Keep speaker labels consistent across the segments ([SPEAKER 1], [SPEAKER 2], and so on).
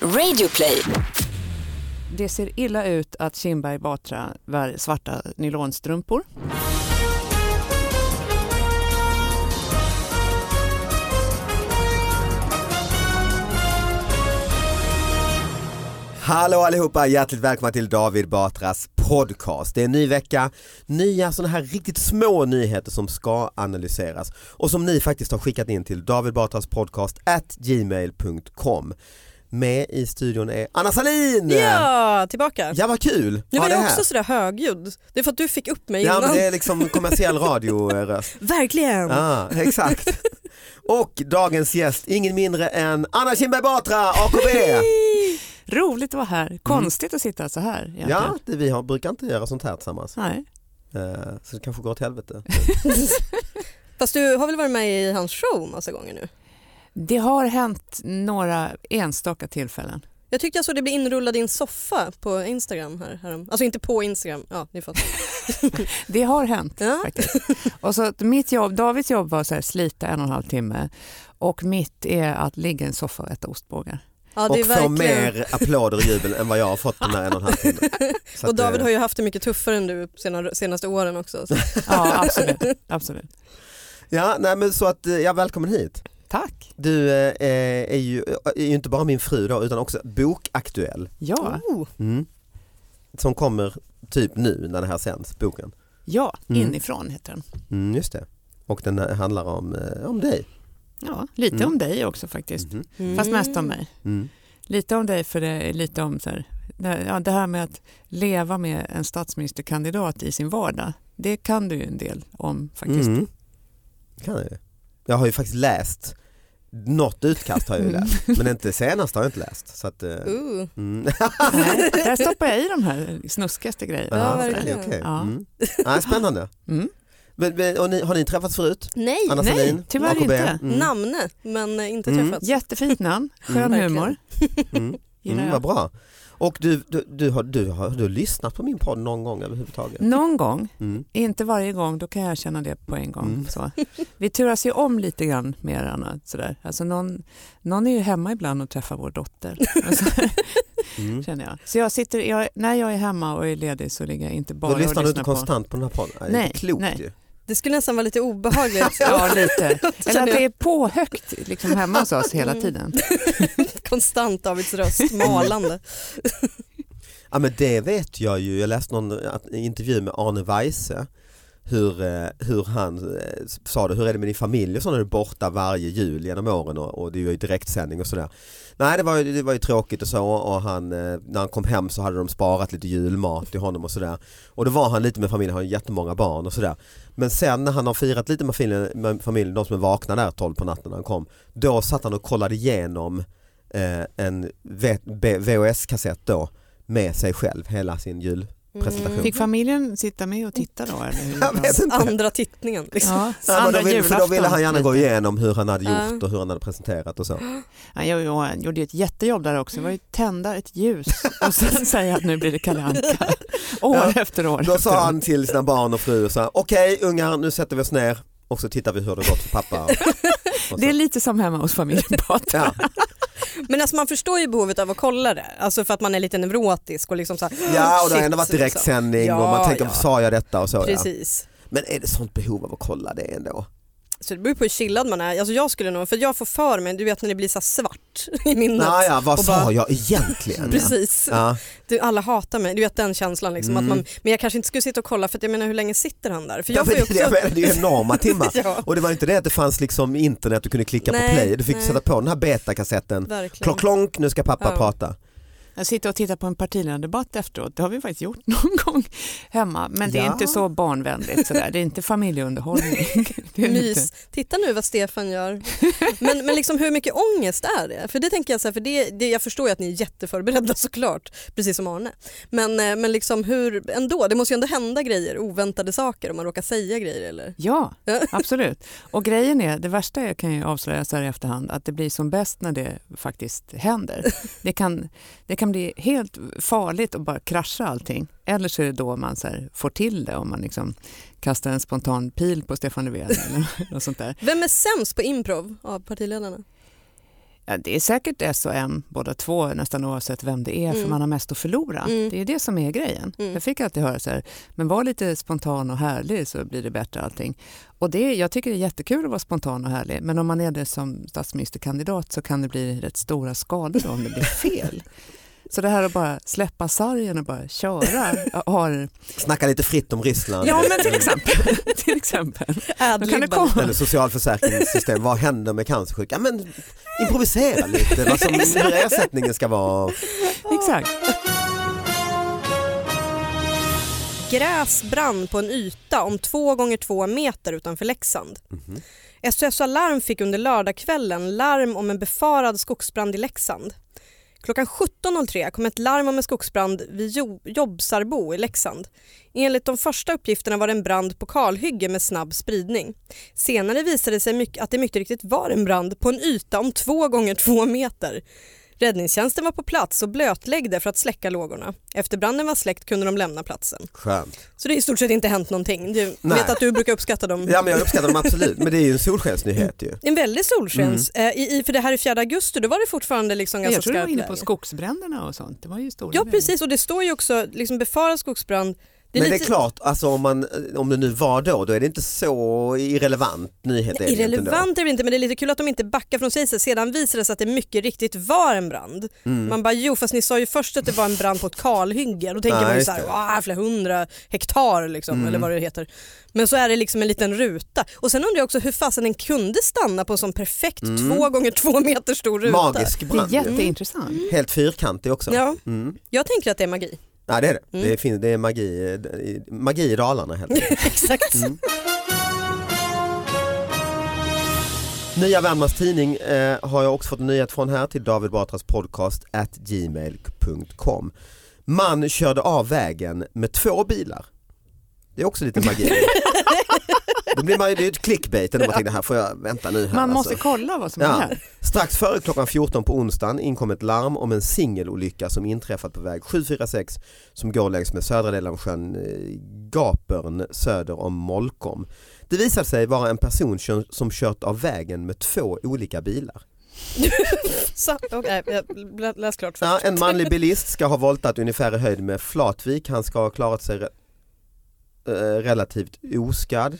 [SPEAKER 1] Radioplay.
[SPEAKER 2] Det ser illa ut att Kinberg Batra bär svarta nylonstrumpor.
[SPEAKER 3] Hallå allihopa, hjärtligt välkomna till David Batras podcast. Det är en ny vecka, nya sådana här riktigt små nyheter som ska analyseras och som ni faktiskt har skickat in till David Batras podcast at gmail.com. Med i studion är Anna Salin!
[SPEAKER 4] Ja, tillbaka.
[SPEAKER 3] Ja vad kul!
[SPEAKER 4] Nu var
[SPEAKER 3] det
[SPEAKER 4] jag
[SPEAKER 3] här.
[SPEAKER 4] också sådär högljudd. Det är för att du fick upp mig
[SPEAKER 3] Ja men
[SPEAKER 4] innan.
[SPEAKER 3] det är liksom kommersiell radioröst.
[SPEAKER 4] Verkligen.
[SPEAKER 3] Ja, exakt. Och dagens gäst, ingen mindre än Anna Kinberg Batra, AKB!
[SPEAKER 2] Roligt att vara här, konstigt att sitta så här. egentligen.
[SPEAKER 3] Mm. Ja, det, vi har, brukar inte göra sånt här tillsammans.
[SPEAKER 2] Nej.
[SPEAKER 3] Eh, Så det kanske går åt helvete.
[SPEAKER 4] Fast du har väl varit med i hans show massa gånger nu?
[SPEAKER 2] Det har hänt några enstaka tillfällen.
[SPEAKER 4] Jag tyckte jag såg det bli inrullad i en soffa på Instagram. här. härom- Alltså inte på Instagram, ja ni fattar.
[SPEAKER 2] Det har hänt
[SPEAKER 4] Ja.
[SPEAKER 2] faktiskt. Och så att mitt jobb, Davids jobb var så här, slita en och en halv timme och mitt är att ligga i en soffa och äta ostbågar.
[SPEAKER 4] Ja,
[SPEAKER 3] och
[SPEAKER 4] det är
[SPEAKER 3] få
[SPEAKER 4] verkligen...
[SPEAKER 3] mer applåder och jubel än vad jag har fått på den här en och en halv timmen. Så
[SPEAKER 4] Och
[SPEAKER 3] att, eh,
[SPEAKER 4] David har ju haft det mycket tuffare än du sena- senaste åren också. Så.
[SPEAKER 2] Ja, absolut. absolut.
[SPEAKER 3] Ja, nej, men så att, eh, ja, välkommen hit.
[SPEAKER 2] Tack.
[SPEAKER 3] Du eh, är, ju, eh, är ju inte bara min fru då, utan också bokaktuell.
[SPEAKER 2] Ja,
[SPEAKER 4] Oh,
[SPEAKER 3] Mm. Som kommer typ nu när det här sänds, boken.
[SPEAKER 2] ja
[SPEAKER 3] Mm.
[SPEAKER 2] inifrån heter den.
[SPEAKER 3] Mm, just det. Och den här handlar om, eh, om dig.
[SPEAKER 2] Ja, lite
[SPEAKER 3] Mm.
[SPEAKER 2] om dig också faktiskt.
[SPEAKER 3] Mhm.
[SPEAKER 4] Mm.
[SPEAKER 2] Fast mest om mig.
[SPEAKER 3] Mm.
[SPEAKER 2] Lite om dig, för det är lite om så här, det, här- ja, det här med att leva med en statsministerkandidat i sin vardag. Det kan du ju en del om faktiskt.
[SPEAKER 3] Mm. Kan jag ju. Jag har ju faktiskt läst, något utkast har jag ju
[SPEAKER 2] Mm.
[SPEAKER 3] läst, men inte senast har jag inte läst. Så att, eh,
[SPEAKER 4] Uh.
[SPEAKER 3] mm.
[SPEAKER 2] Nej, där stoppar jag i de här snuskigaste grejerna.
[SPEAKER 3] Ja,
[SPEAKER 4] Ja,
[SPEAKER 3] okej,
[SPEAKER 4] verkligen.
[SPEAKER 3] okej.
[SPEAKER 2] Ja.
[SPEAKER 3] Mm. Ja, spännande.
[SPEAKER 2] Mm.
[SPEAKER 3] Men, men, och ni, har ni träffats förut?
[SPEAKER 4] Nej,
[SPEAKER 3] Anna
[SPEAKER 2] nej,
[SPEAKER 3] Sahlin,
[SPEAKER 2] tyvärr
[SPEAKER 3] AKB?
[SPEAKER 2] inte.
[SPEAKER 3] Mm.
[SPEAKER 4] namne men eh, inte
[SPEAKER 3] Mm.
[SPEAKER 4] träffats.
[SPEAKER 2] Jättefint namn, skön
[SPEAKER 4] Mm.
[SPEAKER 2] humor.
[SPEAKER 3] Mm.
[SPEAKER 2] Gillar
[SPEAKER 3] Mm,
[SPEAKER 2] jag.
[SPEAKER 3] vad bra. Och du, du, du, har, du, har, du har lyssnat på min podd någon gång överhuvudtaget?
[SPEAKER 2] Någon gång,
[SPEAKER 3] Mm.
[SPEAKER 2] inte varje gång, då kan jag känna det på en gång.
[SPEAKER 3] Mm.
[SPEAKER 2] Så. Vi turas ju om lite grann med varandra. Sådär. Alltså någon, någon är ju hemma ibland och träffar vår dotter. Alltså,
[SPEAKER 3] Mm.
[SPEAKER 2] känner jag. Så jag sitter, jag, när jag är hemma och är ledig så ligger jag inte bara
[SPEAKER 3] Då
[SPEAKER 2] och
[SPEAKER 3] lyssnar du inte
[SPEAKER 2] lyssnar på
[SPEAKER 3] konstant på den här podden? Nej, det är
[SPEAKER 2] Nej,
[SPEAKER 3] inte klokt
[SPEAKER 2] nej.
[SPEAKER 3] ju.
[SPEAKER 4] Det skulle nästan vara lite obehagligt.
[SPEAKER 2] Ja, lite. Eller att
[SPEAKER 4] Känner jag.
[SPEAKER 2] det är på högt liksom hemma hos oss hela
[SPEAKER 4] Mm.
[SPEAKER 2] tiden.
[SPEAKER 4] Konstant Davids röst, malande.
[SPEAKER 3] Ja men det vet jag ju, jag läste någon att- intervju med Arne Weise hur, eh, hur han eh, sa det, hur är det med din familj och så när du är borta varje jul genom åren och, och det är ju direktsändning och sådär. Nej det var, ju, det var ju tråkigt och så och han, eh, när han kom hem så hade de sparat lite julmat till honom och sådär. Och då var han lite med familjen, han har ju jättemånga barn och sådär. Men sen när han har firat lite med familjen, med familjen de som är vakna där 12 på natten när han kom, då satt han och kollade igenom eh, en V- B- VHS-kassett då med sig själv hela sin jul.
[SPEAKER 4] Mm.
[SPEAKER 3] Presentation.
[SPEAKER 2] Fick familjen sitta med och titta då? Eller hur?
[SPEAKER 3] Jag vet inte.
[SPEAKER 4] Andra tittningen. Liksom.
[SPEAKER 2] Ja,
[SPEAKER 3] Ja, men
[SPEAKER 2] andra
[SPEAKER 3] då vill, för då ville han gärna gå
[SPEAKER 2] julafton.
[SPEAKER 3] igenom hur han hade
[SPEAKER 4] Ja.
[SPEAKER 3] gjort och hur han hade presenterat och så.
[SPEAKER 2] Ja, jag, jag, jag gjorde ju ett jättejobb där också. Det var ju tända ett ljus och sen säga att nu blir det Kalle Anka. År
[SPEAKER 3] Ja,
[SPEAKER 2] efter år.
[SPEAKER 3] Då
[SPEAKER 2] efter år.
[SPEAKER 3] sa han till sina barn och fru och sa okej ungar nu sätter vi oss ner och så tittar vi hur det gått för pappa. Och, och
[SPEAKER 2] Det är
[SPEAKER 3] så.
[SPEAKER 2] lite som hemma hos familjen Batra.
[SPEAKER 3] Ja,
[SPEAKER 4] Men alltså man förstår ju behovet av att kolla det, alltså för att man är lite neurotisk och liksom så här,
[SPEAKER 3] ja och det har
[SPEAKER 4] shit,
[SPEAKER 3] ändå varit direktsändning
[SPEAKER 4] liksom.
[SPEAKER 3] och man
[SPEAKER 4] Ja,
[SPEAKER 3] tänker
[SPEAKER 4] ja.
[SPEAKER 3] sa jag detta och så. Ja.
[SPEAKER 4] Precis.
[SPEAKER 3] Men är det sånt behov av att kolla det ändå?
[SPEAKER 4] Så det beror på hur chillad man är. Alltså jag skulle nog, för jag får för mig, du vet när det blir så här svart i minnet.
[SPEAKER 3] Nej, ja, vad
[SPEAKER 4] och
[SPEAKER 3] sa
[SPEAKER 4] bara-
[SPEAKER 3] jag egentligen?
[SPEAKER 4] Precis.
[SPEAKER 3] Ja.
[SPEAKER 4] Du, alla hatar mig, du vet den känslan liksom.
[SPEAKER 3] Mm.
[SPEAKER 4] Att man, men jag kanske inte skulle sitta och kolla för att jag menar hur länge sitter han där? För
[SPEAKER 3] Ja,
[SPEAKER 4] jag får
[SPEAKER 3] men
[SPEAKER 4] ju
[SPEAKER 3] det, jag
[SPEAKER 4] också...
[SPEAKER 3] menar, det är ju enorma timmar.
[SPEAKER 4] Ja,
[SPEAKER 3] Och det var inte det att det fanns liksom internet du kunde klicka på
[SPEAKER 4] Nej,
[SPEAKER 3] play, du fick
[SPEAKER 4] nej.
[SPEAKER 3] sätta på den här betakassetten.
[SPEAKER 4] verkligen.
[SPEAKER 3] Klonk, klonk, nu ska pappa
[SPEAKER 4] Ja.
[SPEAKER 3] prata.
[SPEAKER 2] Jag sitter och tittar på en partiledardebatt efteråt. Det har vi faktiskt gjort någon gång hemma. Men det är
[SPEAKER 3] Ja.
[SPEAKER 2] inte så barnvänligt. Sådär. Det är inte familjeunderhållning. Det är lite-
[SPEAKER 4] Mys. Titta nu vad Stefan gör. Men, men liksom hur mycket ångest är det? För det tänker jag så här, för det, det, jag förstår ju att ni är jätteförberedda såklart, precis som Arne. Men, eh, men liksom hur, ändå, det måste ju ändå hända grejer, oväntade saker om man råkar säga grejer eller?
[SPEAKER 2] Ja, absolut. Och grejen är, det värsta jag kan ju avslöja så här i efterhand, att det blir som bäst när det faktiskt händer. Det kan, det kan bli helt farligt att bara krascha allting. Eller så är det då man så här får till det, om man liksom kastar en spontan pil på Stefan Löfven eller något sånt där.
[SPEAKER 4] Vem är sämst på improv av partiledarna?
[SPEAKER 2] Ja, det är säkert S och M båda två nästan oavsett vem det är
[SPEAKER 4] Mm.
[SPEAKER 2] för man har mest att förlora.
[SPEAKER 4] Mm.
[SPEAKER 2] Det är det som är grejen.
[SPEAKER 4] Mm.
[SPEAKER 2] Jag fick alltid höra så här, men var lite spontan och härlig så blir det bättre allting. Och det, jag tycker det är jättekul att vara spontan och härlig men om man är det som statsministerkandidat så kan det bli rätt stora skador då om det blir fel. Så det här att bara släppa sargen och bara köra har...
[SPEAKER 3] Snacka lite fritt om Ryssland.
[SPEAKER 2] Ja men till exempel. till exempel. Då kan det
[SPEAKER 4] Ad-libban.
[SPEAKER 2] komma
[SPEAKER 3] Eller socialförsäkringssystem, vad händer med cancersjuka? Ja, men improvisera lite vad som, hur ersättningen ska vara.
[SPEAKER 2] Exakt.
[SPEAKER 4] Gräs brann på en yta om två gånger två meter utanför Leksand.
[SPEAKER 3] Mhm.
[SPEAKER 4] SOS Alarm fick under lördagskvällen larm om en befarad skogsbrand i Leksand. Klockan 17.03 kom ett larm om en skogsbrand vid Jo- Jobbsarbo i Leksand. Enligt de första uppgifterna var det en brand på kalhygge med snabb spridning. Senare visade det sig mycket, att det mycket riktigt var en brand på en yta om två gånger två meter. Räddningstjänsten var på plats och blötläggde för att släcka lågorna. Efter branden var släckt kunde de lämna platsen.
[SPEAKER 3] Skönt.
[SPEAKER 4] Så det har i stort sett inte hänt någonting. Du
[SPEAKER 3] Nej.
[SPEAKER 4] vet att du brukar uppskatta dem.
[SPEAKER 3] Ja men jag uppskattar dem absolut, men det är ju en solskensnyhet ju.
[SPEAKER 4] En väldig solskens.
[SPEAKER 3] Mm.
[SPEAKER 4] eh, I, i- för det här är 4 augusti, då var det fortfarande liksom ganska
[SPEAKER 2] Jag tror du var
[SPEAKER 4] skarpt
[SPEAKER 2] inne på
[SPEAKER 4] läge.
[SPEAKER 2] skogsbränderna och sånt. Det var ju stora
[SPEAKER 4] Ja
[SPEAKER 2] grejer.
[SPEAKER 4] precis och det står ju också liksom befarad skogsbrand.
[SPEAKER 3] men det är
[SPEAKER 4] lite-
[SPEAKER 3] klart, alltså, om, man, om det nu var då, då är det inte så irrelevant nyhet. är det ju inte ändå.
[SPEAKER 4] Irrelevant är det inte men det är lite kul att de inte backar från sig. Sedan visade det sig att det mycket riktigt var en brand.
[SPEAKER 3] Mm.
[SPEAKER 4] Man bara jo fast ni sa ju först att det var en brand på ett kalhygge. Då tänker
[SPEAKER 3] Ja,
[SPEAKER 4] man ju
[SPEAKER 3] just
[SPEAKER 4] såhär
[SPEAKER 3] det. Mm.
[SPEAKER 4] "Ah, flera hundra hektar liksom, eller vad det heter. Men så är det liksom en liten ruta. Och sen undrar jag också hur fasen den kunde stanna på en sån perfekt
[SPEAKER 3] Mm.
[SPEAKER 4] två gånger två meter stor ruta.
[SPEAKER 3] Magisk
[SPEAKER 2] Det är
[SPEAKER 4] Mm.
[SPEAKER 3] brand ju.
[SPEAKER 2] jätteintressant.
[SPEAKER 3] Helt fyrkantig också.
[SPEAKER 4] Ja,
[SPEAKER 3] Mm.
[SPEAKER 4] jag tänker att det är magi.
[SPEAKER 3] Nej det är det.
[SPEAKER 4] Mm.
[SPEAKER 3] Det, finns, det är magi, eh, i- magi i Dalarna helt enkelt.
[SPEAKER 4] Exakt.
[SPEAKER 3] Mm. Nya Värmlands Tidning eh, har jag också fått en nyhet från här till David Batras podcast at gmail.com. Man körde av vägen med två bilar. Det är också lite magi. Då blir man ju, det är ju ett clickbait när man tänker det här får jag vänta nu här.
[SPEAKER 2] Man måste
[SPEAKER 3] alltså.
[SPEAKER 2] kolla vad som
[SPEAKER 3] Ja.
[SPEAKER 2] är här.
[SPEAKER 3] Strax före klockan 14 på onsdagen inkom ett larm om en singelolycka som inträffat på väg 746 som går längs med södra delen av sjön eh, Gapern söder om Molkom. Det visade sig vara en person kö- som kört av vägen med två olika bilar.
[SPEAKER 4] Så, okay, jag läs klart först.
[SPEAKER 3] Ja, en manlig bilist ska ha voltat ungefär i höjd med Flatvik. Han ska ha klarat sig re- eh, relativt oskadd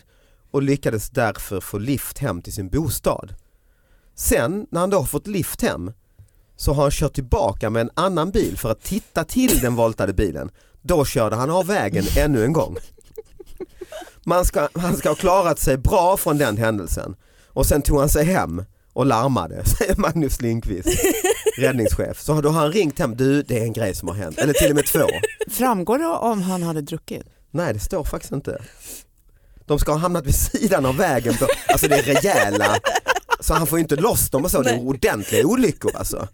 [SPEAKER 3] och lyckades därför få lift hem till sin bostad. Sen när han då har fått lift hem så har han kört tillbaka med en annan bil för att titta till den voltade bilen. Då körde han av vägen ännu en gång. Man ska, han ska ha klarat sig bra från den händelsen och sen tog han sig hem och larmade, säger Magnus Lindqvist räddningschef. Så då har han ringt hem, du det är en grej som har hänt. Eller till och med två.
[SPEAKER 2] Framgår det om han hade druckit?
[SPEAKER 3] Nej det står faktiskt inte. De ska ha hamnat vid sidan av vägen, på, alltså det är rejäla, så han får ju inte loss dem och så, det är
[SPEAKER 4] Nej.
[SPEAKER 3] ordentliga olyckor alltså.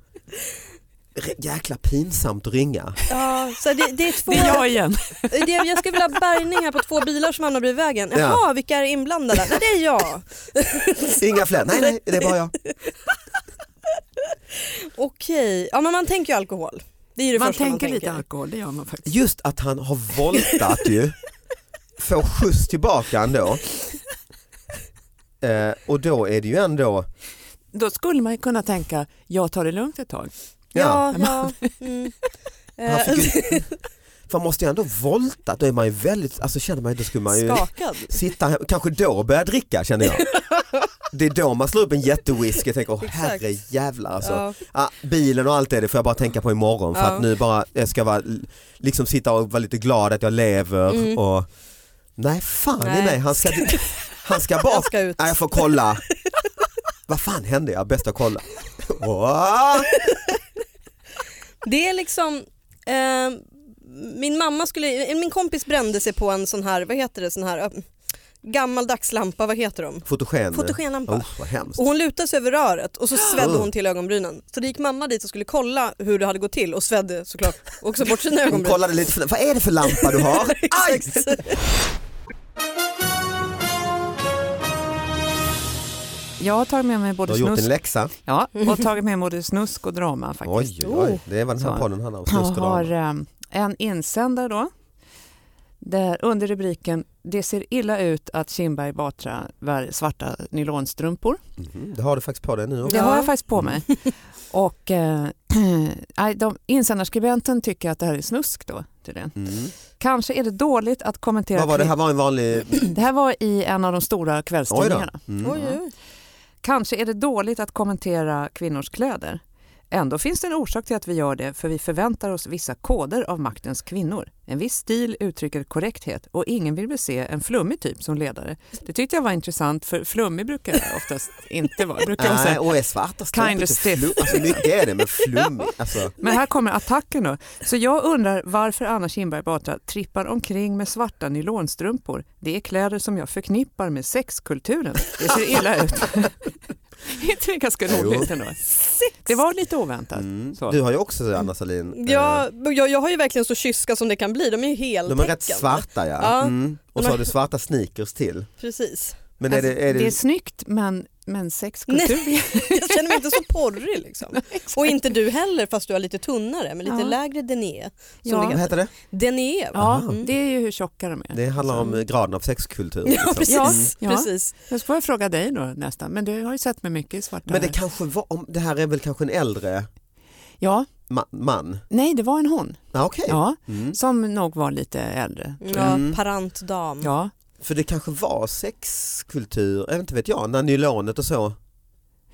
[SPEAKER 3] Re- Jäkla pinsamt att ringa.
[SPEAKER 4] Ja, så det, det är två,
[SPEAKER 2] Det är jag igen.
[SPEAKER 4] det, jag skulle vilja ha bärgning här på två bilar som hamnar bredvid vägen. Jaha,
[SPEAKER 3] Ja.
[SPEAKER 4] vilka är inblandade? Nej, det är jag.
[SPEAKER 3] Inga fler, nej nej det är bara jag.
[SPEAKER 4] Okej, ja, men man tänker ju alkohol. Det är ju det
[SPEAKER 2] Man
[SPEAKER 4] första man
[SPEAKER 2] tänker
[SPEAKER 4] tänker.
[SPEAKER 2] lite alkohol, det gör man faktiskt.
[SPEAKER 3] Just att han har voltat ju, får skjuts tillbaka ändå. Eh, och då är det ju ändå,
[SPEAKER 2] Då skulle man ju kunna tänka, jag tar det lugnt ett tag.
[SPEAKER 4] Ja, ja. Mm.
[SPEAKER 3] Han
[SPEAKER 4] Eh,
[SPEAKER 3] fick ju, för man måste ju ändå volta, då är man ju väldigt, alltså känner man ju, då skulle man ju
[SPEAKER 4] Eh, Skakad.
[SPEAKER 3] sitta här, kanske då börja dricka känner jag. Det är då man slår upp en jättewhisky och tänker, åh
[SPEAKER 4] Exakt.
[SPEAKER 3] herre jävlar alltså.
[SPEAKER 4] Ja.
[SPEAKER 3] Ah, bilen och allt det, det får jag bara tänka på imorgon för
[SPEAKER 4] Ja.
[SPEAKER 3] att nu bara, jag ska vara, liksom sitta och vara lite glad att jag lever
[SPEAKER 4] Mm.
[SPEAKER 3] och nej fan i
[SPEAKER 4] Nej.
[SPEAKER 3] nej, han ska, han ska bara,
[SPEAKER 4] Jag ska ut.
[SPEAKER 3] nej jag får kolla. Vad fan hände? Jag bäst att kolla. Åh!
[SPEAKER 4] Det är liksom... Eh, min mamma skulle... Min kompis brände sig på en sån här, vad heter det, sån här ö, gammaldags lampa, vad heter de?
[SPEAKER 3] Fotogen.
[SPEAKER 4] Fotogenlampa.
[SPEAKER 3] Oh, vad hemskt.
[SPEAKER 4] Och hon lutade sig över röret och så svedde hon till ögonbrynen. Så det gick mamma dit och skulle kolla hur det hade gått till och svedde såklart också bort sina
[SPEAKER 3] Hon
[SPEAKER 4] ögonbryn.
[SPEAKER 3] kollade lite, för- vad är det för lampa du har? Aj!
[SPEAKER 2] Jag har tagit med mig
[SPEAKER 3] Du
[SPEAKER 2] både
[SPEAKER 3] har gjort
[SPEAKER 2] snusk,
[SPEAKER 3] en läxa.
[SPEAKER 2] ja, och tagit med mig både snusk och drama faktiskt. ehm,
[SPEAKER 3] Oj, oj, oj. Det är vad den här
[SPEAKER 2] Så.
[SPEAKER 3] podden handlar om,
[SPEAKER 2] Jag
[SPEAKER 3] snusk och
[SPEAKER 2] har
[SPEAKER 3] damer.
[SPEAKER 2] eh, en insändare då. Där under rubriken “Det ser illa ut att Kinberg Batra bär svarta nylonstrumpor”.
[SPEAKER 3] Mhm, Det har du faktiskt på dig nu också.
[SPEAKER 2] Det
[SPEAKER 4] Ja.
[SPEAKER 2] har jag faktiskt på mig. Och eh, nej, de, insändarskribenten tycker att det här är snusk då tydligen.
[SPEAKER 3] Mm.
[SPEAKER 2] Kanske är det dåligt att kommentera...
[SPEAKER 3] Vad var det här var en vanlig...
[SPEAKER 2] det här var i en av de stora
[SPEAKER 3] Oj då.
[SPEAKER 2] kvällstidningarna.
[SPEAKER 3] Mm.
[SPEAKER 4] Oj, oj, oj.
[SPEAKER 2] Kanske är det dåligt att kommentera kvinnors kläder. Ändå finns det en orsak till att vi gör det, för vi förväntar oss vissa koder av maktens kvinnor. En viss stil uttrycker korrekthet och ingen vill väl se en flummig typ som ledare. Det tyckte jag var intressant, för flummig brukar jag oftast inte vara. Brukar jag
[SPEAKER 3] Nej,
[SPEAKER 2] säga.
[SPEAKER 3] och är svarta
[SPEAKER 2] Kinda stiff.
[SPEAKER 3] flum, alltså mycket är det men flummig. Alltså,
[SPEAKER 2] Men här kommer attacken då. Så jag undrar varför Anna Kinberg Batra trippar omkring med svarta nylonstrumpor. Det är kläder som jag förknippar med sexkulturen. Det ser illa ut. inte det ganska
[SPEAKER 3] Jo.
[SPEAKER 2] roligt ändå? Det var lite oväntat.
[SPEAKER 3] mm.
[SPEAKER 2] Så.
[SPEAKER 3] Du har ju också Anna Salin. eh,
[SPEAKER 4] Ja, jag, jag har ju verkligen så kyska som det kan bli. De är ju heltäckande.
[SPEAKER 3] De är rätt svarta ja.
[SPEAKER 4] Ja.
[SPEAKER 3] Mm. Och
[SPEAKER 4] De
[SPEAKER 3] så
[SPEAKER 4] är-
[SPEAKER 3] har du svarta sneakers till.
[SPEAKER 4] Precis.
[SPEAKER 3] Men är
[SPEAKER 2] Alltså,
[SPEAKER 3] det, är det...
[SPEAKER 2] snyggt men, men sexkultur.
[SPEAKER 4] Jag känner mig inte så porrig liksom. Och inte du heller fast du har lite tunnare men lite
[SPEAKER 2] Ja.
[SPEAKER 4] lägre dené. Som
[SPEAKER 2] Ja.
[SPEAKER 4] det
[SPEAKER 3] Vad
[SPEAKER 4] heter.
[SPEAKER 3] heter det?
[SPEAKER 4] Dené va?
[SPEAKER 2] ja,
[SPEAKER 4] Mm.
[SPEAKER 2] det är ju hur tjocka de är.
[SPEAKER 3] Det handlar om eh,
[SPEAKER 2] Så,
[SPEAKER 3] graden av sexkultur.
[SPEAKER 4] Ja, precis.
[SPEAKER 2] Ja. Ja.
[SPEAKER 4] Mm. precis.
[SPEAKER 2] men så får jag fråga dig då nästan, men du har ju sett mig mycket i svarta.
[SPEAKER 3] Men det kanske var, om- det här är väl kanske en äldre
[SPEAKER 2] Ja,
[SPEAKER 3] ma- man?
[SPEAKER 2] nej det var en hon
[SPEAKER 3] Ah, Okej.
[SPEAKER 2] ja,
[SPEAKER 3] Mm.
[SPEAKER 2] som nog var lite äldre.
[SPEAKER 4] Ja,
[SPEAKER 3] Mm.
[SPEAKER 4] parant dam.
[SPEAKER 2] Ja,
[SPEAKER 3] För det kanske var sexkultur, jag vet inte vet jag, när nylonet och så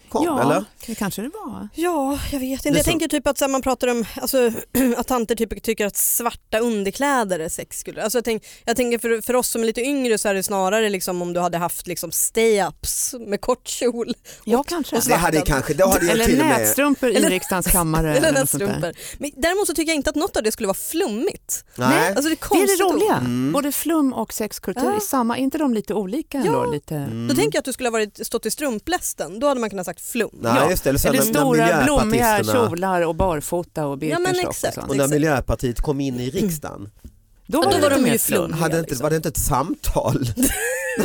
[SPEAKER 3] kom
[SPEAKER 2] ja
[SPEAKER 3] eller?
[SPEAKER 2] det kanske det var.
[SPEAKER 4] Ja, jag vet
[SPEAKER 3] är
[SPEAKER 4] inte. Jag
[SPEAKER 3] så-
[SPEAKER 4] tänker typ att så här, man pratar om alltså, att tanter typ tycker att svarta underkläder är sexkultur. Alltså, jag, tänk, jag tänker för, för oss som är lite yngre så är det snarare liksom om du hade haft liksom stay-ups med kort kjol
[SPEAKER 2] Ja, kanske.
[SPEAKER 4] och
[SPEAKER 3] Det
[SPEAKER 4] svart.
[SPEAKER 3] hade ju kanske, då hade jag
[SPEAKER 2] eller
[SPEAKER 3] till och med
[SPEAKER 2] nätstrumpor
[SPEAKER 4] Eller-
[SPEAKER 2] i riksdagens kammare.
[SPEAKER 4] eller
[SPEAKER 2] något sånt där.
[SPEAKER 4] nässtrumpor. Men däremot så tycker jag inte att något av det skulle vara flummigt.
[SPEAKER 3] Nej.
[SPEAKER 4] Alltså, det, är
[SPEAKER 2] Det är
[SPEAKER 4] konstigt
[SPEAKER 2] det
[SPEAKER 4] att-
[SPEAKER 2] roliga,
[SPEAKER 3] Mm.
[SPEAKER 2] både flum och sexkultur
[SPEAKER 4] Ja.
[SPEAKER 2] i samma, är inte de lite olika ändå? Lite...
[SPEAKER 3] Mm.
[SPEAKER 4] Då tänker jag att du skulle ha varit, stått i strumplästen, då hade man kunnat sagt flum.
[SPEAKER 3] Nej,
[SPEAKER 2] Ja.
[SPEAKER 3] just det. Eller så
[SPEAKER 2] Eller
[SPEAKER 3] när,
[SPEAKER 2] stora
[SPEAKER 3] när
[SPEAKER 2] blommiga
[SPEAKER 3] miljöpartisterna
[SPEAKER 2] kjolar liksom. och barfota och
[SPEAKER 4] Ja, men
[SPEAKER 2] Birkenstock och
[SPEAKER 4] exakt.
[SPEAKER 2] sånt.
[SPEAKER 3] och när
[SPEAKER 4] Exakt.
[SPEAKER 3] Miljöpartiet kom in i
[SPEAKER 2] Mm.
[SPEAKER 3] riksdagen,
[SPEAKER 2] Då
[SPEAKER 4] Ja, då var
[SPEAKER 2] lite
[SPEAKER 4] de
[SPEAKER 2] mer
[SPEAKER 4] ju
[SPEAKER 2] flum.
[SPEAKER 4] flummiga.
[SPEAKER 3] hade inte,
[SPEAKER 4] liksom.
[SPEAKER 3] var det inte ett samtal? Nej,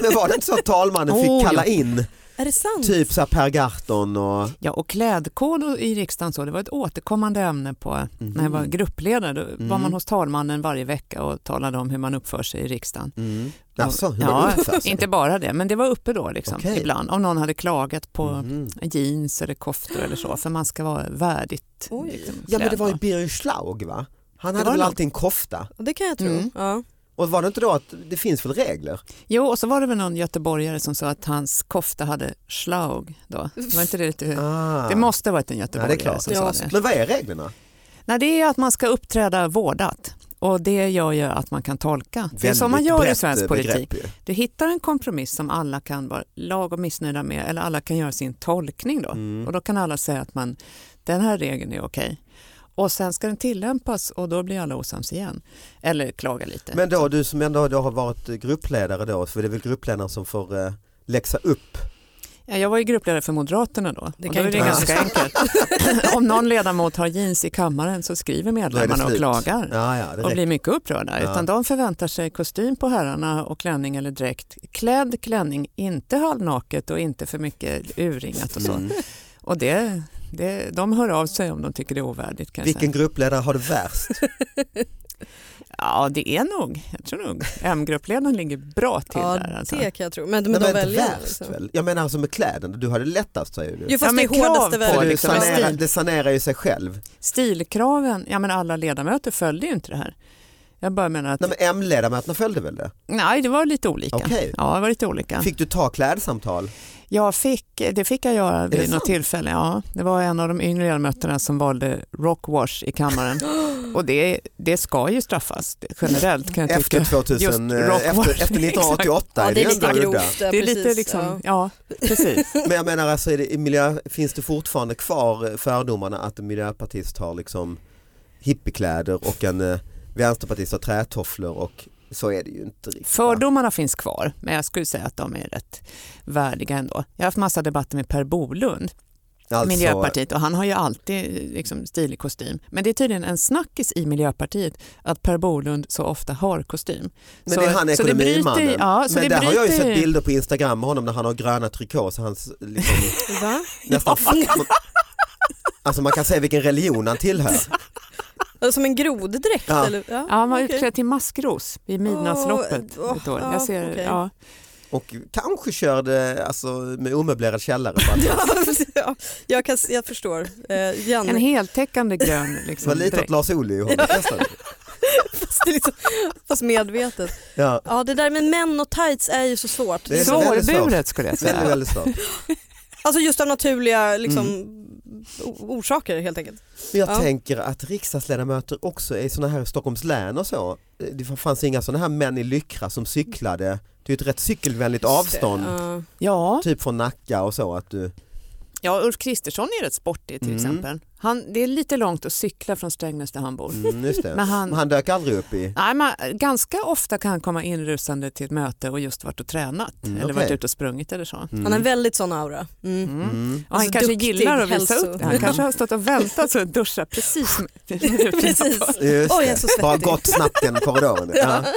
[SPEAKER 3] Men var det inte så att talmannen
[SPEAKER 2] Oh,
[SPEAKER 3] fick kalla
[SPEAKER 2] ja.
[SPEAKER 3] in
[SPEAKER 4] Är det sant?
[SPEAKER 3] typ så här Per Gahrton och
[SPEAKER 2] Ja, och klädkod och- i riksdagen så, det var ett återkommande ämne på när jag
[SPEAKER 3] Mhm.
[SPEAKER 2] var gruppledare. Då var man hos talmannen varje vecka och talade om hur man uppför sig i riksdagen.
[SPEAKER 3] Mm. Alltså, hur
[SPEAKER 2] ja,
[SPEAKER 3] var det för sig?
[SPEAKER 2] Inte bara det, men det var uppe då liksom,
[SPEAKER 3] Okej.
[SPEAKER 2] ibland. Om någon hade klagat på
[SPEAKER 3] Mm.
[SPEAKER 2] jeans eller koftor eller så, för man ska vara värdigt
[SPEAKER 4] Oj.
[SPEAKER 2] liksom,
[SPEAKER 3] Ja men det var ju
[SPEAKER 2] klädd,
[SPEAKER 3] Birger Schlaug va? Han
[SPEAKER 2] Det
[SPEAKER 3] hade
[SPEAKER 2] var
[SPEAKER 3] väl
[SPEAKER 2] nog-
[SPEAKER 3] alltid en kofta?
[SPEAKER 4] Det kan jag tro.
[SPEAKER 2] Mm.
[SPEAKER 4] Ja.
[SPEAKER 3] Och var det inte då att det finns väl regler?
[SPEAKER 2] Jo, och så var det väl någon göteborgare som sa att hans kofta hade schlaug då. Var inte det lite...
[SPEAKER 3] Ah.
[SPEAKER 2] Det måste ha varit en
[SPEAKER 3] ja, det är
[SPEAKER 2] göteborgare
[SPEAKER 3] klart.
[SPEAKER 2] som
[SPEAKER 4] Ja,
[SPEAKER 2] sa det.
[SPEAKER 3] Alltså, Men vad är reglerna?
[SPEAKER 2] Nej, det är att man ska uppträda vårdat och det gör ju att man kan tolka. Det är
[SPEAKER 3] Väldigt
[SPEAKER 2] som man gör i
[SPEAKER 3] brett,
[SPEAKER 2] svensk
[SPEAKER 3] eh,
[SPEAKER 2] politik.
[SPEAKER 3] begrepp ju.
[SPEAKER 2] Du hittar en kompromiss som alla kan vara lagom missnöjda med eller alla kan göra sin tolkning då.
[SPEAKER 3] Mm.
[SPEAKER 2] Och då kan alla säga att man, den här regeln är okej. Och sen ska den tillämpas och då blir alla osams igen. Eller klaga lite.
[SPEAKER 3] Men då du som ändå då har varit gruppledare då, för det är väl gruppledaren som får eh, läxa upp.
[SPEAKER 2] Ja, jag var ju gruppledare för Moderaterna då.
[SPEAKER 4] Det
[SPEAKER 2] och
[SPEAKER 4] kan
[SPEAKER 2] då är
[SPEAKER 4] inte
[SPEAKER 2] det
[SPEAKER 3] vara
[SPEAKER 2] ganska enkelt. Om någon ledamot har jeans i kammaren så skriver medlemmarna och
[SPEAKER 3] slut.
[SPEAKER 2] klagar.
[SPEAKER 3] Ja, ja, det
[SPEAKER 2] och
[SPEAKER 3] räcker.
[SPEAKER 2] blir mycket upprörda.
[SPEAKER 3] Ja.
[SPEAKER 2] Utan de förväntar sig kostym på herrarna och klänning eller dräkt. Klädd klänning, inte halvnaket och inte för mycket urringat och så.
[SPEAKER 3] Mm.
[SPEAKER 2] Och det, det, de hör av sig om de tycker det är ovärdigt. Kan jag
[SPEAKER 3] Vilken
[SPEAKER 2] säga.
[SPEAKER 3] gruppledare har det värst?
[SPEAKER 2] Ja, det är nog. Jag tror nog M-gruppledaren ligger bra till
[SPEAKER 4] ja,
[SPEAKER 2] där. Alltså.
[SPEAKER 4] det kan jag tro. Men, men
[SPEAKER 3] Nej,
[SPEAKER 4] de
[SPEAKER 3] men inte
[SPEAKER 4] väljer.
[SPEAKER 3] värst
[SPEAKER 4] Liksom.
[SPEAKER 3] väl? Jag menar alltså med kläderna, du hade lättast säger du.
[SPEAKER 4] Jo fast
[SPEAKER 2] Ja, men
[SPEAKER 4] det är hårdaste
[SPEAKER 2] krav på
[SPEAKER 3] För
[SPEAKER 4] väl.
[SPEAKER 3] du
[SPEAKER 2] liksom,
[SPEAKER 3] sanerar,
[SPEAKER 2] stil.
[SPEAKER 3] det sanerar ju sig själv.
[SPEAKER 2] Stilkraven, ja men alla ledamöter följde ju inte det här. Jag bara menar att
[SPEAKER 3] Nej, men M-ledamöterna följde väl det?
[SPEAKER 2] Nej, det var lite olika.
[SPEAKER 3] Okej.
[SPEAKER 2] Ja, det var lite olika.
[SPEAKER 3] Fick du ta klädsamtal?
[SPEAKER 2] Jag fick, det fick jag göra
[SPEAKER 3] det
[SPEAKER 2] vid något
[SPEAKER 3] sant?
[SPEAKER 2] tillfälle. Ja, det var en av de yngre ledamöterna som valde rockwash i kammaren. Och det, det ska ju straffas det- generellt kan jag tycka.
[SPEAKER 3] Efter 2000,
[SPEAKER 2] Just
[SPEAKER 3] eh,
[SPEAKER 2] rock
[SPEAKER 3] efter,
[SPEAKER 2] war.
[SPEAKER 3] efter 1988
[SPEAKER 4] Ja, det är
[SPEAKER 3] ändå
[SPEAKER 4] lite
[SPEAKER 3] udda.
[SPEAKER 4] grovt. ja,
[SPEAKER 2] det är lite
[SPEAKER 4] precis,
[SPEAKER 2] liksom,
[SPEAKER 4] ja.
[SPEAKER 2] ja precis.
[SPEAKER 3] Men jag menar alltså, är det, i miljö, finns det fortfarande kvar eh, fördomarna att en miljöpartist har liksom hippiekläder och en eh, vänsterpartist har trätofflor och så är det ju inte riktigt. va?
[SPEAKER 2] Fördomarna finns kvar, men jag skulle säga att de är rätt värdiga ändå. Jag har haft massa debatter med Per Bolund,
[SPEAKER 3] Alltså,
[SPEAKER 2] Miljöpartiet, och han har ju alltid liksom, stilig kostym. Men det är tydligen en snackis i Miljöpartiet att Per Bolund så ofta har kostym.
[SPEAKER 3] Men
[SPEAKER 2] så,
[SPEAKER 3] det är han
[SPEAKER 2] så det bryter-
[SPEAKER 3] ekonomimannen.
[SPEAKER 2] Ja, så
[SPEAKER 3] men
[SPEAKER 2] Alltså, det
[SPEAKER 3] där har jag ju
[SPEAKER 2] bryter
[SPEAKER 3] sett bilder på Instagram med honom när han har gröna trikås. och Hans, liksom,
[SPEAKER 4] Va?
[SPEAKER 3] nästan, alltså man kan se vilken religion han tillhör.
[SPEAKER 4] Som en groddräkt?
[SPEAKER 3] Ja.
[SPEAKER 4] Eller? Ja,
[SPEAKER 2] Ja, han var
[SPEAKER 4] okej.
[SPEAKER 2] utklädd till maskros vid midnattsloppet
[SPEAKER 4] Åh,
[SPEAKER 2] ett år.
[SPEAKER 4] åh,
[SPEAKER 2] Jag ser,
[SPEAKER 4] okej.
[SPEAKER 2] ja.
[SPEAKER 3] Och kanske körde alltså, med omöblerad källare. För att
[SPEAKER 4] Ja, precis, ja. jag, kan, jag förstår. Eh,
[SPEAKER 2] En
[SPEAKER 4] Janne,
[SPEAKER 2] heltäckande grön
[SPEAKER 3] det
[SPEAKER 2] liksom,
[SPEAKER 3] var lite åt
[SPEAKER 2] dräkt.
[SPEAKER 3] Lars Ohly i hållet nästan.
[SPEAKER 4] fast, det är liksom, fast medvetet.
[SPEAKER 3] ja.
[SPEAKER 4] Ja, det där med män och tights är ju så svårt.
[SPEAKER 3] Det är så väldigt svårt.
[SPEAKER 2] Svårburet skulle jag
[SPEAKER 3] Väldigt,
[SPEAKER 2] säga.
[SPEAKER 3] väldigt svårt.
[SPEAKER 4] Alltså just av naturliga liksom,
[SPEAKER 3] Mm.
[SPEAKER 4] o- orsaker helt enkelt.
[SPEAKER 3] Men jag
[SPEAKER 4] Ja.
[SPEAKER 3] tänker att riksdagsledamöter också är sådana här i Stockholms län och så. Det fanns inga sådana här män i Lyckra som cyklade. Det är ju ett rätt cykelvänligt avstånd.
[SPEAKER 4] Ja.
[SPEAKER 2] Ja.
[SPEAKER 3] Typ från Nacka och så att du,
[SPEAKER 2] ja, Ulf Kristersson är rätt sportig till
[SPEAKER 3] Mm.
[SPEAKER 2] exempel. Han, det är lite långt att cykla från Strängnäs där han bor.
[SPEAKER 3] mm, just det.
[SPEAKER 2] Men han,
[SPEAKER 3] Men han dök aldrig upp i,
[SPEAKER 2] Nej, man, ganska ofta kan han komma inrusande till ett möte och just varit och tränat
[SPEAKER 3] Mm,
[SPEAKER 2] eller
[SPEAKER 3] okej.
[SPEAKER 2] varit ute och sprungit eller så.
[SPEAKER 3] mm.
[SPEAKER 4] Han har en väldigt sån aura. Mm.
[SPEAKER 2] Mm.
[SPEAKER 3] mm.
[SPEAKER 2] Och han
[SPEAKER 4] Alltså,
[SPEAKER 2] kanske
[SPEAKER 4] duktig
[SPEAKER 2] gillar att visa
[SPEAKER 4] hälso-
[SPEAKER 2] upp det. Han kanske har stått och väntat så att duscha precis minuten
[SPEAKER 4] Precis.
[SPEAKER 2] innan.
[SPEAKER 3] Just
[SPEAKER 4] Oj, jag
[SPEAKER 3] det.
[SPEAKER 4] är så svettig.
[SPEAKER 3] Bara gått snabbt genom korridoren.
[SPEAKER 4] Ja.
[SPEAKER 3] Ja.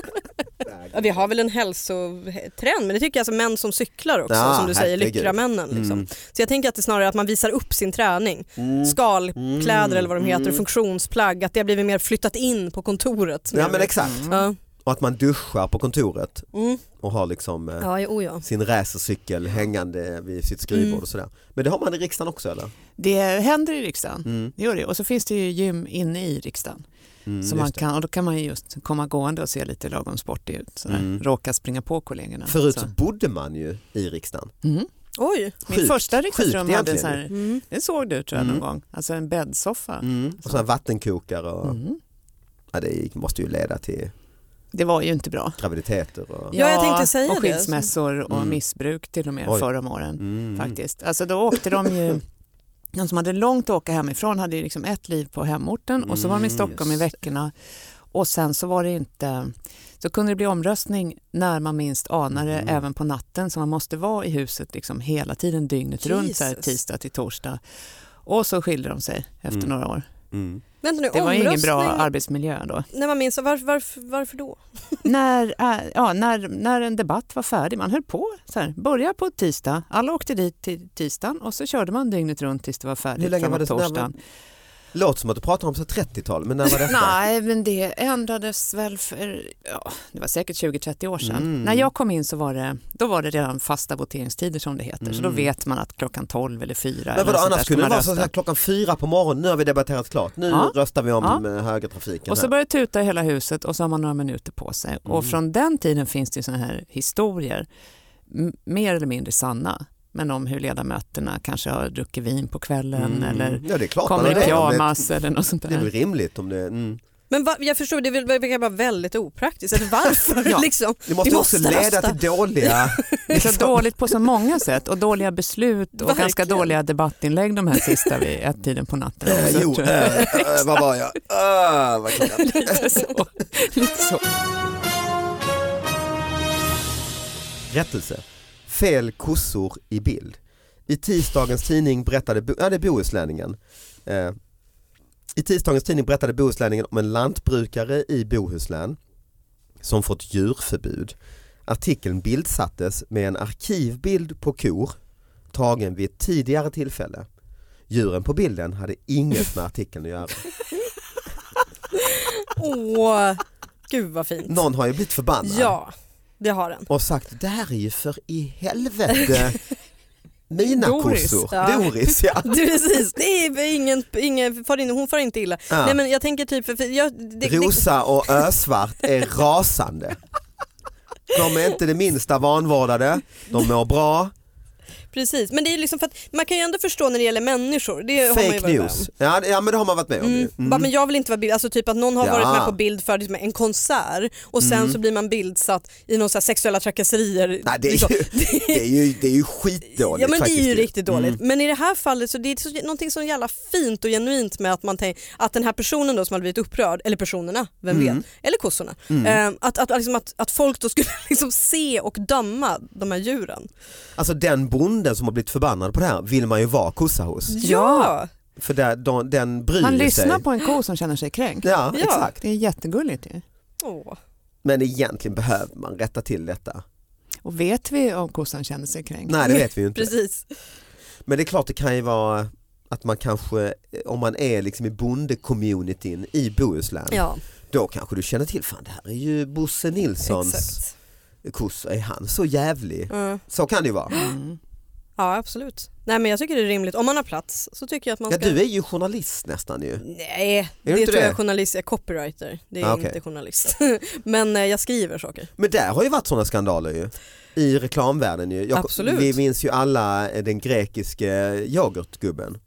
[SPEAKER 4] Ja, vi har väl en hälsotrend men det tycker jag alltså män som cyklar också
[SPEAKER 3] Ja,
[SPEAKER 4] som du säger,
[SPEAKER 3] herregud.
[SPEAKER 4] lyckramännen. Liksom.
[SPEAKER 3] Mm.
[SPEAKER 4] Så jag tänker att det snarare är att man visar upp sin träning,
[SPEAKER 3] Mm.
[SPEAKER 4] skalkläder
[SPEAKER 3] Mm.
[SPEAKER 4] eller vad de heter,
[SPEAKER 3] Mm.
[SPEAKER 4] funktionsplagg, att det har blivit mer flyttat in på kontoret.
[SPEAKER 3] Ja men exakt.
[SPEAKER 2] Mm.
[SPEAKER 4] Ja,
[SPEAKER 3] Och att man duschar på kontoret
[SPEAKER 4] mm.
[SPEAKER 3] och har liksom eh,
[SPEAKER 4] ja, jo, ja.
[SPEAKER 3] sin racercykel hängande vid sitt skrivbord
[SPEAKER 4] Mm.
[SPEAKER 3] och sådär. Men det har man i riksdagen också eller?
[SPEAKER 2] Det händer i riksdagen.
[SPEAKER 3] Mm.
[SPEAKER 2] Det gör det. Och så finns det ju gym inne i riksdagen.
[SPEAKER 3] Mm,
[SPEAKER 2] så man
[SPEAKER 3] just det.
[SPEAKER 2] kan, och då kan man ju just komma gående och se lite lagom sportig ut. Sådär.
[SPEAKER 3] Mm.
[SPEAKER 2] Råka springa på kollegorna.
[SPEAKER 3] Förut
[SPEAKER 2] Så.
[SPEAKER 3] så bodde man ju i riksdagen.
[SPEAKER 2] Mm.
[SPEAKER 4] Oj.
[SPEAKER 2] Min
[SPEAKER 3] Sjukt,
[SPEAKER 2] första
[SPEAKER 3] sjukt
[SPEAKER 2] riksdagsrum hade en
[SPEAKER 3] egentligen.
[SPEAKER 2] sån här,
[SPEAKER 4] Mm.
[SPEAKER 2] det såg du tror jag
[SPEAKER 3] Mm.
[SPEAKER 2] någon gång, alltså en bäddsoffa.
[SPEAKER 3] Mm. Och sådana här vattenkokare och
[SPEAKER 2] Mm.
[SPEAKER 3] ja, det måste ju leda till
[SPEAKER 2] Det var ju inte bra.
[SPEAKER 3] graviditeter och
[SPEAKER 4] Ja, jag tänkte säga
[SPEAKER 2] och
[SPEAKER 4] det.
[SPEAKER 2] skilsmässor och
[SPEAKER 3] Mm.
[SPEAKER 2] missbruk till och med
[SPEAKER 3] Oj.
[SPEAKER 2] förr om åren.
[SPEAKER 3] Mm.
[SPEAKER 2] Faktiskt. Alltså då åkte de ju, de som hade långt att åka hemifrån hade ju liksom ett liv på hemorten och så var de i
[SPEAKER 3] Mm,
[SPEAKER 2] Stockholm i
[SPEAKER 3] just det.
[SPEAKER 2] veckorna och sen så var det inte, så kunde det bli omröstning när man minst anade
[SPEAKER 3] Mm.
[SPEAKER 2] även på natten så man måste vara i huset liksom hela tiden dygnet runt så här
[SPEAKER 4] Jesus.
[SPEAKER 2] tisdag till torsdag. Och så skilde de sig efter
[SPEAKER 3] Mm.
[SPEAKER 2] några år.
[SPEAKER 3] Mm.
[SPEAKER 4] Vänta nu,
[SPEAKER 2] Det var ju ingen bra
[SPEAKER 4] omröstning,
[SPEAKER 2] arbetsmiljö då.
[SPEAKER 4] när man minns, varför, varför, varför då?
[SPEAKER 2] när, äh, ja, när, när en debatt var färdig, man höll på så här, börja på tisdag, alla åkte dit till tisdagen och så körde man dygnet runt tills det var färdigt
[SPEAKER 3] Hur länge
[SPEAKER 2] framåt
[SPEAKER 3] var det- när var-
[SPEAKER 2] torsdagen.
[SPEAKER 3] Låter som att du pratar om så 30-tal, men när var detta?
[SPEAKER 2] Nej, men det ändrades väl för, ja, det var säkert 20-30 år sedan.
[SPEAKER 3] Mm.
[SPEAKER 2] När jag kom in så var det, då var det redan fasta voteringstider som det heter, så då
[SPEAKER 3] Mm.
[SPEAKER 2] vet man att klockan 12 eller 4 eller
[SPEAKER 3] Men vadå,
[SPEAKER 2] något sånt där
[SPEAKER 3] annars
[SPEAKER 2] ska
[SPEAKER 3] kunde det
[SPEAKER 2] man
[SPEAKER 3] vara så
[SPEAKER 2] rösta.
[SPEAKER 3] här klockan fyra på morgonen, nu har vi debatterat klart, nu
[SPEAKER 2] Ja.
[SPEAKER 3] röstar vi om
[SPEAKER 2] Ja.
[SPEAKER 3] ja. högertrafiken.
[SPEAKER 2] Och så
[SPEAKER 3] här.
[SPEAKER 2] börjar det tuta i hela huset och så har man några minuter på sig.
[SPEAKER 3] Mm.
[SPEAKER 2] Och från den tiden finns det ju såna här historier, m- mer eller mindre sanna, men om hur ledamöterna kanske har druckit vin på kvällen
[SPEAKER 3] Mm.
[SPEAKER 2] eller
[SPEAKER 3] ja, det är klart, man
[SPEAKER 2] kommer
[SPEAKER 3] har
[SPEAKER 2] i
[SPEAKER 3] det, men
[SPEAKER 2] pyjamas eller något sånt
[SPEAKER 3] Det är väl
[SPEAKER 2] där.
[SPEAKER 3] rimligt om det... Mm.
[SPEAKER 4] Men va, jag förstår, det vill- det verkar vara väldigt opraktiskt. Eller varför?
[SPEAKER 2] Ja.
[SPEAKER 4] liksom?
[SPEAKER 3] Det måste,
[SPEAKER 4] Vi
[SPEAKER 3] också
[SPEAKER 4] måste
[SPEAKER 3] leda
[SPEAKER 4] rösta.
[SPEAKER 3] till dåliga...
[SPEAKER 2] Det är så dåligt på så många sätt och dåliga beslut och
[SPEAKER 4] Verkligen.
[SPEAKER 2] ganska dåliga debattinlägg de här sista vid ett-tiden på natten.
[SPEAKER 3] Eh,
[SPEAKER 2] också,
[SPEAKER 3] jo,
[SPEAKER 2] tror jag.
[SPEAKER 3] eh, eh, vad var jag? Eh, vad klockan?
[SPEAKER 2] Lite så. Lite så.
[SPEAKER 3] Rättelse. Fel kossor i bild. I tisdagens tidning berättade, Bo- ja det är Bohuslänningen. Eh, I tisdagens tidning berättade Bohuslänningen om en lantbrukare i Bohuslän som fått djurförbud. Artikeln bildsattes med en arkivbild på kor tagen vid ett tidigare tillfälle. Djuren på bilden hade inget med artikeln att göra.
[SPEAKER 4] Åh, gud vad fint.
[SPEAKER 3] Någon har ju blivit förbannad
[SPEAKER 4] Ja, det har den.
[SPEAKER 3] och sagt det här är ju för i helvete mina
[SPEAKER 2] Doris,
[SPEAKER 3] kossor.
[SPEAKER 4] ja.
[SPEAKER 3] Doris ja.
[SPEAKER 4] Du, precis, det är ingen, ingen far in, hon far inte illa.
[SPEAKER 3] Ja.
[SPEAKER 4] Nej men jag tänker typ, för- för jag, det, det,
[SPEAKER 3] Rosa och Ösvart är rasande. De är inte det minsta vanvårdade, de mår bra.
[SPEAKER 4] precis, men det är liksom för att man kan ju ändå förstå när det gäller människor. Det har man ju
[SPEAKER 3] Fake
[SPEAKER 4] varit med om.
[SPEAKER 3] news. Ja, det- ja men det har man varit med om
[SPEAKER 4] Mm.
[SPEAKER 3] ju.
[SPEAKER 4] Bara,
[SPEAKER 3] Mm.
[SPEAKER 4] men jag vill inte vara bild, alltså typ att någon har
[SPEAKER 3] Ja. Mm.
[SPEAKER 4] varit med på bild för liksom en konsert och sen så blir man bildsatt i någon så här sexuella trakasserier.
[SPEAKER 3] Nej, det, är
[SPEAKER 4] liksom.
[SPEAKER 3] ju, det, är ju, det är ju skitdåligt
[SPEAKER 4] Ja men det är
[SPEAKER 3] faktiskt Mm.
[SPEAKER 4] ju riktigt dåligt. Men i det här fallet så det är så, någonting så jävla fint och genuint med att man tänker att den här personen då som hade blivit upprörd, eller personerna, vem
[SPEAKER 3] Mm.
[SPEAKER 4] vet, eller kossorna. Eh, att, att, liksom att, att folk då skulle liksom se och döma de här djuren.
[SPEAKER 3] Alltså den bonden som har blivit förbannad på det här vill man ju vara kossa hos.
[SPEAKER 4] Mm. Ja!
[SPEAKER 3] För där, de, den bryr
[SPEAKER 2] Man
[SPEAKER 3] ju
[SPEAKER 2] lyssnar
[SPEAKER 3] sig.
[SPEAKER 2] på en ko som känner sig kränkt.
[SPEAKER 3] Ja,
[SPEAKER 4] Ja.
[SPEAKER 3] exakt.
[SPEAKER 2] Det är jättegulligt ju.
[SPEAKER 4] Åh.
[SPEAKER 3] Men egentligen behöver man rätta till detta.
[SPEAKER 2] Och vet vi om kossan känner sig kränkt?
[SPEAKER 3] Nej det vet vi ju inte.
[SPEAKER 4] Precis.
[SPEAKER 3] Men det är klart det kan ju vara Att man kanske, om man är liksom i bondecommunityn i Bohuslän,
[SPEAKER 4] Ja,
[SPEAKER 3] då kanske du känner till, fan det här är ju Bosse Nilssons
[SPEAKER 4] exakt.
[SPEAKER 3] kossa, är han så jävlig?
[SPEAKER 4] Mm.
[SPEAKER 3] Så kan det ju vara.
[SPEAKER 2] Mm.
[SPEAKER 4] Ja, absolut. Nej men jag tycker det är rimligt. Om man har plats så tycker jag att man
[SPEAKER 3] Ja,
[SPEAKER 4] ska...
[SPEAKER 3] du är ju journalist nästan ju.
[SPEAKER 4] Nej,
[SPEAKER 3] du
[SPEAKER 4] det,
[SPEAKER 3] inte
[SPEAKER 4] tror jag
[SPEAKER 3] det?
[SPEAKER 4] är journalist. Jag är copywriter. Det är
[SPEAKER 3] Ah, okej.
[SPEAKER 4] inte journalist. men eh, jag skriver saker.
[SPEAKER 3] Men där har ju varit sådana skandaler ju. I reklamvärlden ju. Jag,
[SPEAKER 4] Absolut.
[SPEAKER 3] Vi minns ju alla eh, den grekiske yoghurtgubben.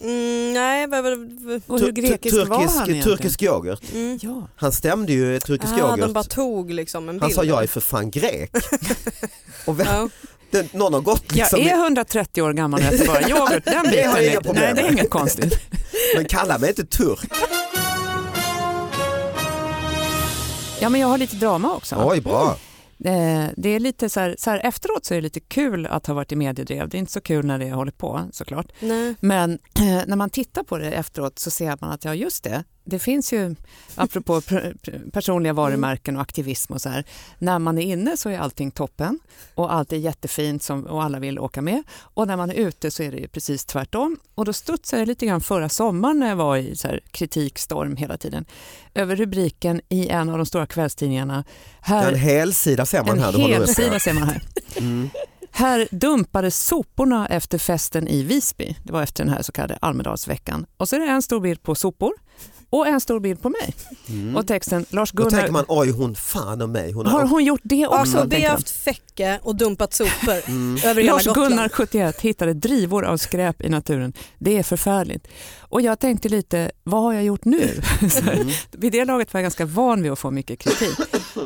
[SPEAKER 4] Mm, nej, vad... vad- vad-
[SPEAKER 2] Och
[SPEAKER 3] Tu-
[SPEAKER 2] hur
[SPEAKER 3] tu-
[SPEAKER 2] grekisk var han egentligen?
[SPEAKER 3] Turkisk yoghurt.
[SPEAKER 4] Mm.
[SPEAKER 2] Ja.
[SPEAKER 3] Han stämde ju turkisk
[SPEAKER 4] Ah, de
[SPEAKER 3] yoghurt.
[SPEAKER 4] bara tog liksom en bild.
[SPEAKER 3] Han sa jag är för fan grek. Och vem,
[SPEAKER 4] Ja.
[SPEAKER 3] den, någon har gått liksom,
[SPEAKER 2] Jag är 130 år gammal och äter bara yoghurt. Den
[SPEAKER 3] Det
[SPEAKER 2] biten
[SPEAKER 3] har jag
[SPEAKER 2] är-
[SPEAKER 3] inga problem
[SPEAKER 2] Nej, det är
[SPEAKER 3] med.
[SPEAKER 2] inget konstigt.
[SPEAKER 3] men kalla mig inte turk.
[SPEAKER 2] Ja, men jag har lite drama också.
[SPEAKER 3] Oj bra.
[SPEAKER 2] Eh, Det är lite så här, så här, efteråt så är det lite kul att ha varit i mediedrev. Det är inte så kul när det håller på såklart.
[SPEAKER 4] Nej.
[SPEAKER 2] Men eh, när man tittar på det efteråt så ser man att ja, just det. Det finns ju, apropå pr- pr- personliga varumärken och aktivism och så här. När man är inne så är allting toppen och allt är jättefint som, och alla vill åka med. Och när man är ute så är det ju precis tvärtom. Och då studsade jag lite grann förra sommaren när jag var i så här kritikstorm hela tiden över rubriken i en av de stora kvällstidningarna.
[SPEAKER 3] En
[SPEAKER 2] Här,
[SPEAKER 3] hel sida ser man
[SPEAKER 2] en
[SPEAKER 3] här. du håller
[SPEAKER 2] hel
[SPEAKER 3] upp
[SPEAKER 2] sida
[SPEAKER 3] här.
[SPEAKER 2] ser man här.
[SPEAKER 3] Mm.
[SPEAKER 2] Här dumpades soporna efter festen i Visby. Det var efter den här så kallade Almedalsveckan. Och så är det en stor bild på sopor och en stor bild på mig.
[SPEAKER 3] Mm.
[SPEAKER 2] Och texten
[SPEAKER 3] Då
[SPEAKER 2] Lars-Gunnar,
[SPEAKER 3] tänker man oj hon fan och mig. Hon
[SPEAKER 2] har
[SPEAKER 3] har,
[SPEAKER 2] hon gjort det också?
[SPEAKER 4] Också
[SPEAKER 2] tänker man.
[SPEAKER 4] vevt fäcke och dumpat sopor
[SPEAKER 3] mm.
[SPEAKER 4] över hela Gotland.
[SPEAKER 2] Lars-Gunnar, 71, hittade drivor av skräp i naturen. Det är förfärligt. Och jag tänkte lite, vad har jag gjort nu? Så här,
[SPEAKER 4] Mm.
[SPEAKER 2] vid det laget var jag ganska van vid att få mycket kritik.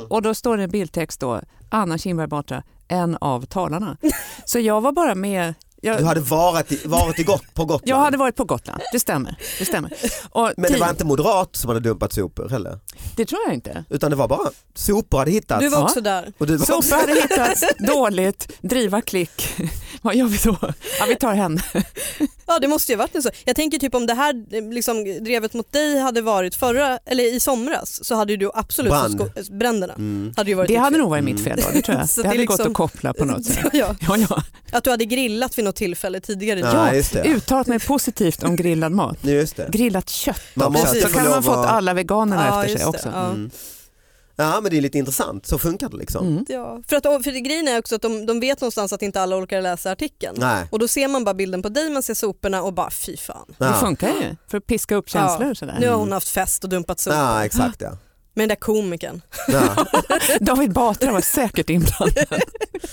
[SPEAKER 2] Och då står det en bildtext då, Anna Kinberg Batra, en av talarna. Så jag var bara med, jag,
[SPEAKER 3] Du hade varit, i, varit i gott, på Gotland.
[SPEAKER 2] Jag hade varit på Gotland, det stämmer. Det, stämmer. Och
[SPEAKER 3] Men det
[SPEAKER 2] tid-
[SPEAKER 3] var inte moderat som hade dumpat sopor heller.
[SPEAKER 2] det tror jag inte.
[SPEAKER 3] Utan det var bara sopor hade hittats.
[SPEAKER 4] Du var
[SPEAKER 2] Ja.
[SPEAKER 4] också där.
[SPEAKER 3] och du var
[SPEAKER 2] Sopor hade hittats, dåligt, driva klick. Vad gör vi då? Ja, vi tar henne.
[SPEAKER 4] Ja det måste ju ha varit en så. Jag tänker typ om det här eh, liksom, drevet mot dig hade varit förra, eller i somras så hade ju du absolut
[SPEAKER 3] Brann.
[SPEAKER 4] fått sko- bränderna.
[SPEAKER 3] Mm.
[SPEAKER 4] Hade ju varit
[SPEAKER 2] Det
[SPEAKER 4] ditt
[SPEAKER 2] hade
[SPEAKER 4] fel.
[SPEAKER 2] nog varit mitt fel då, det tror jag. Det
[SPEAKER 4] Så det är
[SPEAKER 2] hade gått
[SPEAKER 4] liksom-
[SPEAKER 2] att koppla på något sätt.
[SPEAKER 4] ja,
[SPEAKER 2] Ja, ja.
[SPEAKER 4] Att du hade grillat vid något tillfälle tidigare.
[SPEAKER 3] Nej,
[SPEAKER 2] Ja,
[SPEAKER 3] just det.
[SPEAKER 2] Uttalat mig positivt om grillad mat.
[SPEAKER 3] Nej, Just det.
[SPEAKER 2] Grillat kött
[SPEAKER 3] Man
[SPEAKER 2] också.
[SPEAKER 4] måste
[SPEAKER 2] Så
[SPEAKER 4] få
[SPEAKER 2] kan man
[SPEAKER 3] lov
[SPEAKER 2] fått
[SPEAKER 3] att-
[SPEAKER 2] alla veganerna
[SPEAKER 4] Ja,
[SPEAKER 2] efter sig
[SPEAKER 4] just det.
[SPEAKER 2] också.
[SPEAKER 4] Ja.
[SPEAKER 3] Mm. Ja men det är lite intressant, så funkar det liksom.
[SPEAKER 2] Mm.
[SPEAKER 4] Ja. För, att, för det grejen är också att de, de vet någonstans att inte alla orkar läsa artikeln.
[SPEAKER 3] Nej.
[SPEAKER 4] Och då ser man bara bilden på dig, man ser soporna och bara fy fan.
[SPEAKER 2] Det
[SPEAKER 3] Ja.
[SPEAKER 2] funkar ju för att piska upp känslor.
[SPEAKER 4] Ja.
[SPEAKER 2] Sådär.
[SPEAKER 4] Nu har hon haft fest och dumpat sopor.
[SPEAKER 3] Ja exakt ja.
[SPEAKER 4] Med den där komikern.
[SPEAKER 3] Ja,
[SPEAKER 2] David Batra var säkert inblandad.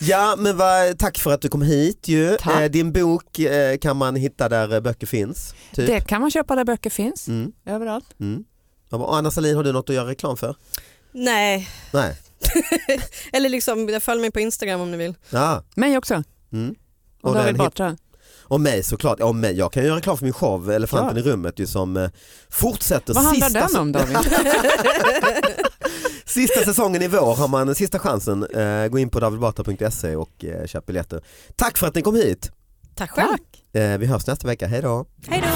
[SPEAKER 3] ja men vad, tack för att du kom hit ju.
[SPEAKER 2] Tack.
[SPEAKER 3] Eh, Din bok eh, kan man hitta där eh, böcker finns. Typ.
[SPEAKER 2] Det kan man köpa där böcker finns,
[SPEAKER 3] Mm,
[SPEAKER 2] överallt.
[SPEAKER 3] mm. Ja, men Anna Salin har du något att göra reklam för?
[SPEAKER 4] Nej,
[SPEAKER 3] Nej.
[SPEAKER 4] eller liksom följ mig på Instagram om ni vill.
[SPEAKER 3] Ja.
[SPEAKER 2] Mig också,
[SPEAKER 3] Mm.
[SPEAKER 2] och,
[SPEAKER 3] Och den
[SPEAKER 2] David
[SPEAKER 3] hit-
[SPEAKER 2] Batra.
[SPEAKER 3] Och mig såklart, ja, och mig. jag kan göra reklam för min show Elefanten i rummet ju, som eh, fortsätter.
[SPEAKER 2] Vad handlar
[SPEAKER 3] sista,
[SPEAKER 2] den om David?
[SPEAKER 3] sista säsongen i vår har man sista chansen. Eh, Gå in på davidbatra.se och eh, köp biljetter. Tack för att ni kom hit.
[SPEAKER 4] Tack själv.
[SPEAKER 2] Tack.
[SPEAKER 3] Eh, Vi hörs nästa vecka, hej då.
[SPEAKER 4] Hej då.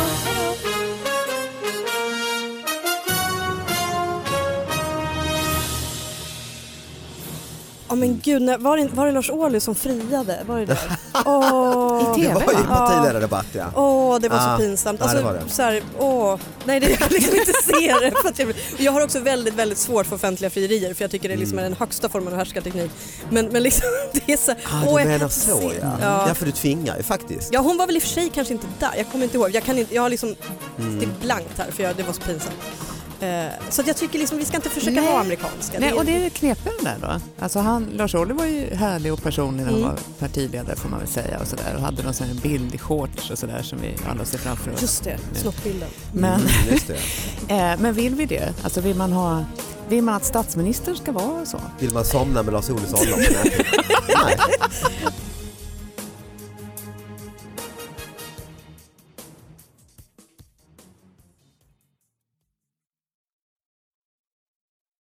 [SPEAKER 4] Ja men gud, när, var, det, var det Lars Ohly som friade? Var det det? Åh,
[SPEAKER 2] I
[SPEAKER 3] Det
[SPEAKER 2] TV,
[SPEAKER 3] var ju
[SPEAKER 2] va?
[SPEAKER 3] partiledardebatt ja.
[SPEAKER 4] Åh, det var
[SPEAKER 3] Ah.
[SPEAKER 4] så pinsamt.
[SPEAKER 3] Ja, det
[SPEAKER 4] Alltså,
[SPEAKER 3] var det.
[SPEAKER 4] Så här, åh. Nej, det, jag liksom inte ser det. För att jag, blir- och jag har också väldigt, väldigt svårt för offentliga frierier för jag tycker det liksom är den högsta formen av härskarteknik. Men, men liksom, det är så här,
[SPEAKER 3] Ah,
[SPEAKER 4] åh,
[SPEAKER 3] du
[SPEAKER 4] jag
[SPEAKER 3] menar
[SPEAKER 4] kan inte
[SPEAKER 3] så
[SPEAKER 4] se.
[SPEAKER 3] ja.
[SPEAKER 4] Ja.
[SPEAKER 3] Ja för du tvingar ju faktiskt.
[SPEAKER 4] Ja, hon var väl i och för sig kanske inte där. Jag kommer inte ihåg. Jag, kan inte, jag har liksom
[SPEAKER 2] Mm.
[SPEAKER 4] det är blankt här för jag, det var så pinsamt. Eh, så att jag tycker liksom vi ska inte försöka
[SPEAKER 2] Nej.
[SPEAKER 4] vara amerikanska.
[SPEAKER 2] Nej, och det är knepen där då. Alltså han, Lars Ohly var ju härlig och personlig när han
[SPEAKER 4] Mm.
[SPEAKER 2] var partiledare får man väl säga och sådär och hade någon sån här bild i shorts och sådär som vi alla ser framför oss.
[SPEAKER 4] Just det, snoppbilden.
[SPEAKER 2] Men,
[SPEAKER 3] Mm, just det.
[SPEAKER 2] eh, men vill vi det? Alltså vill man ha vill man att statsministern ska vara så?
[SPEAKER 3] Vill man somna med Lars Ohlys avlopp? Nej. Nej.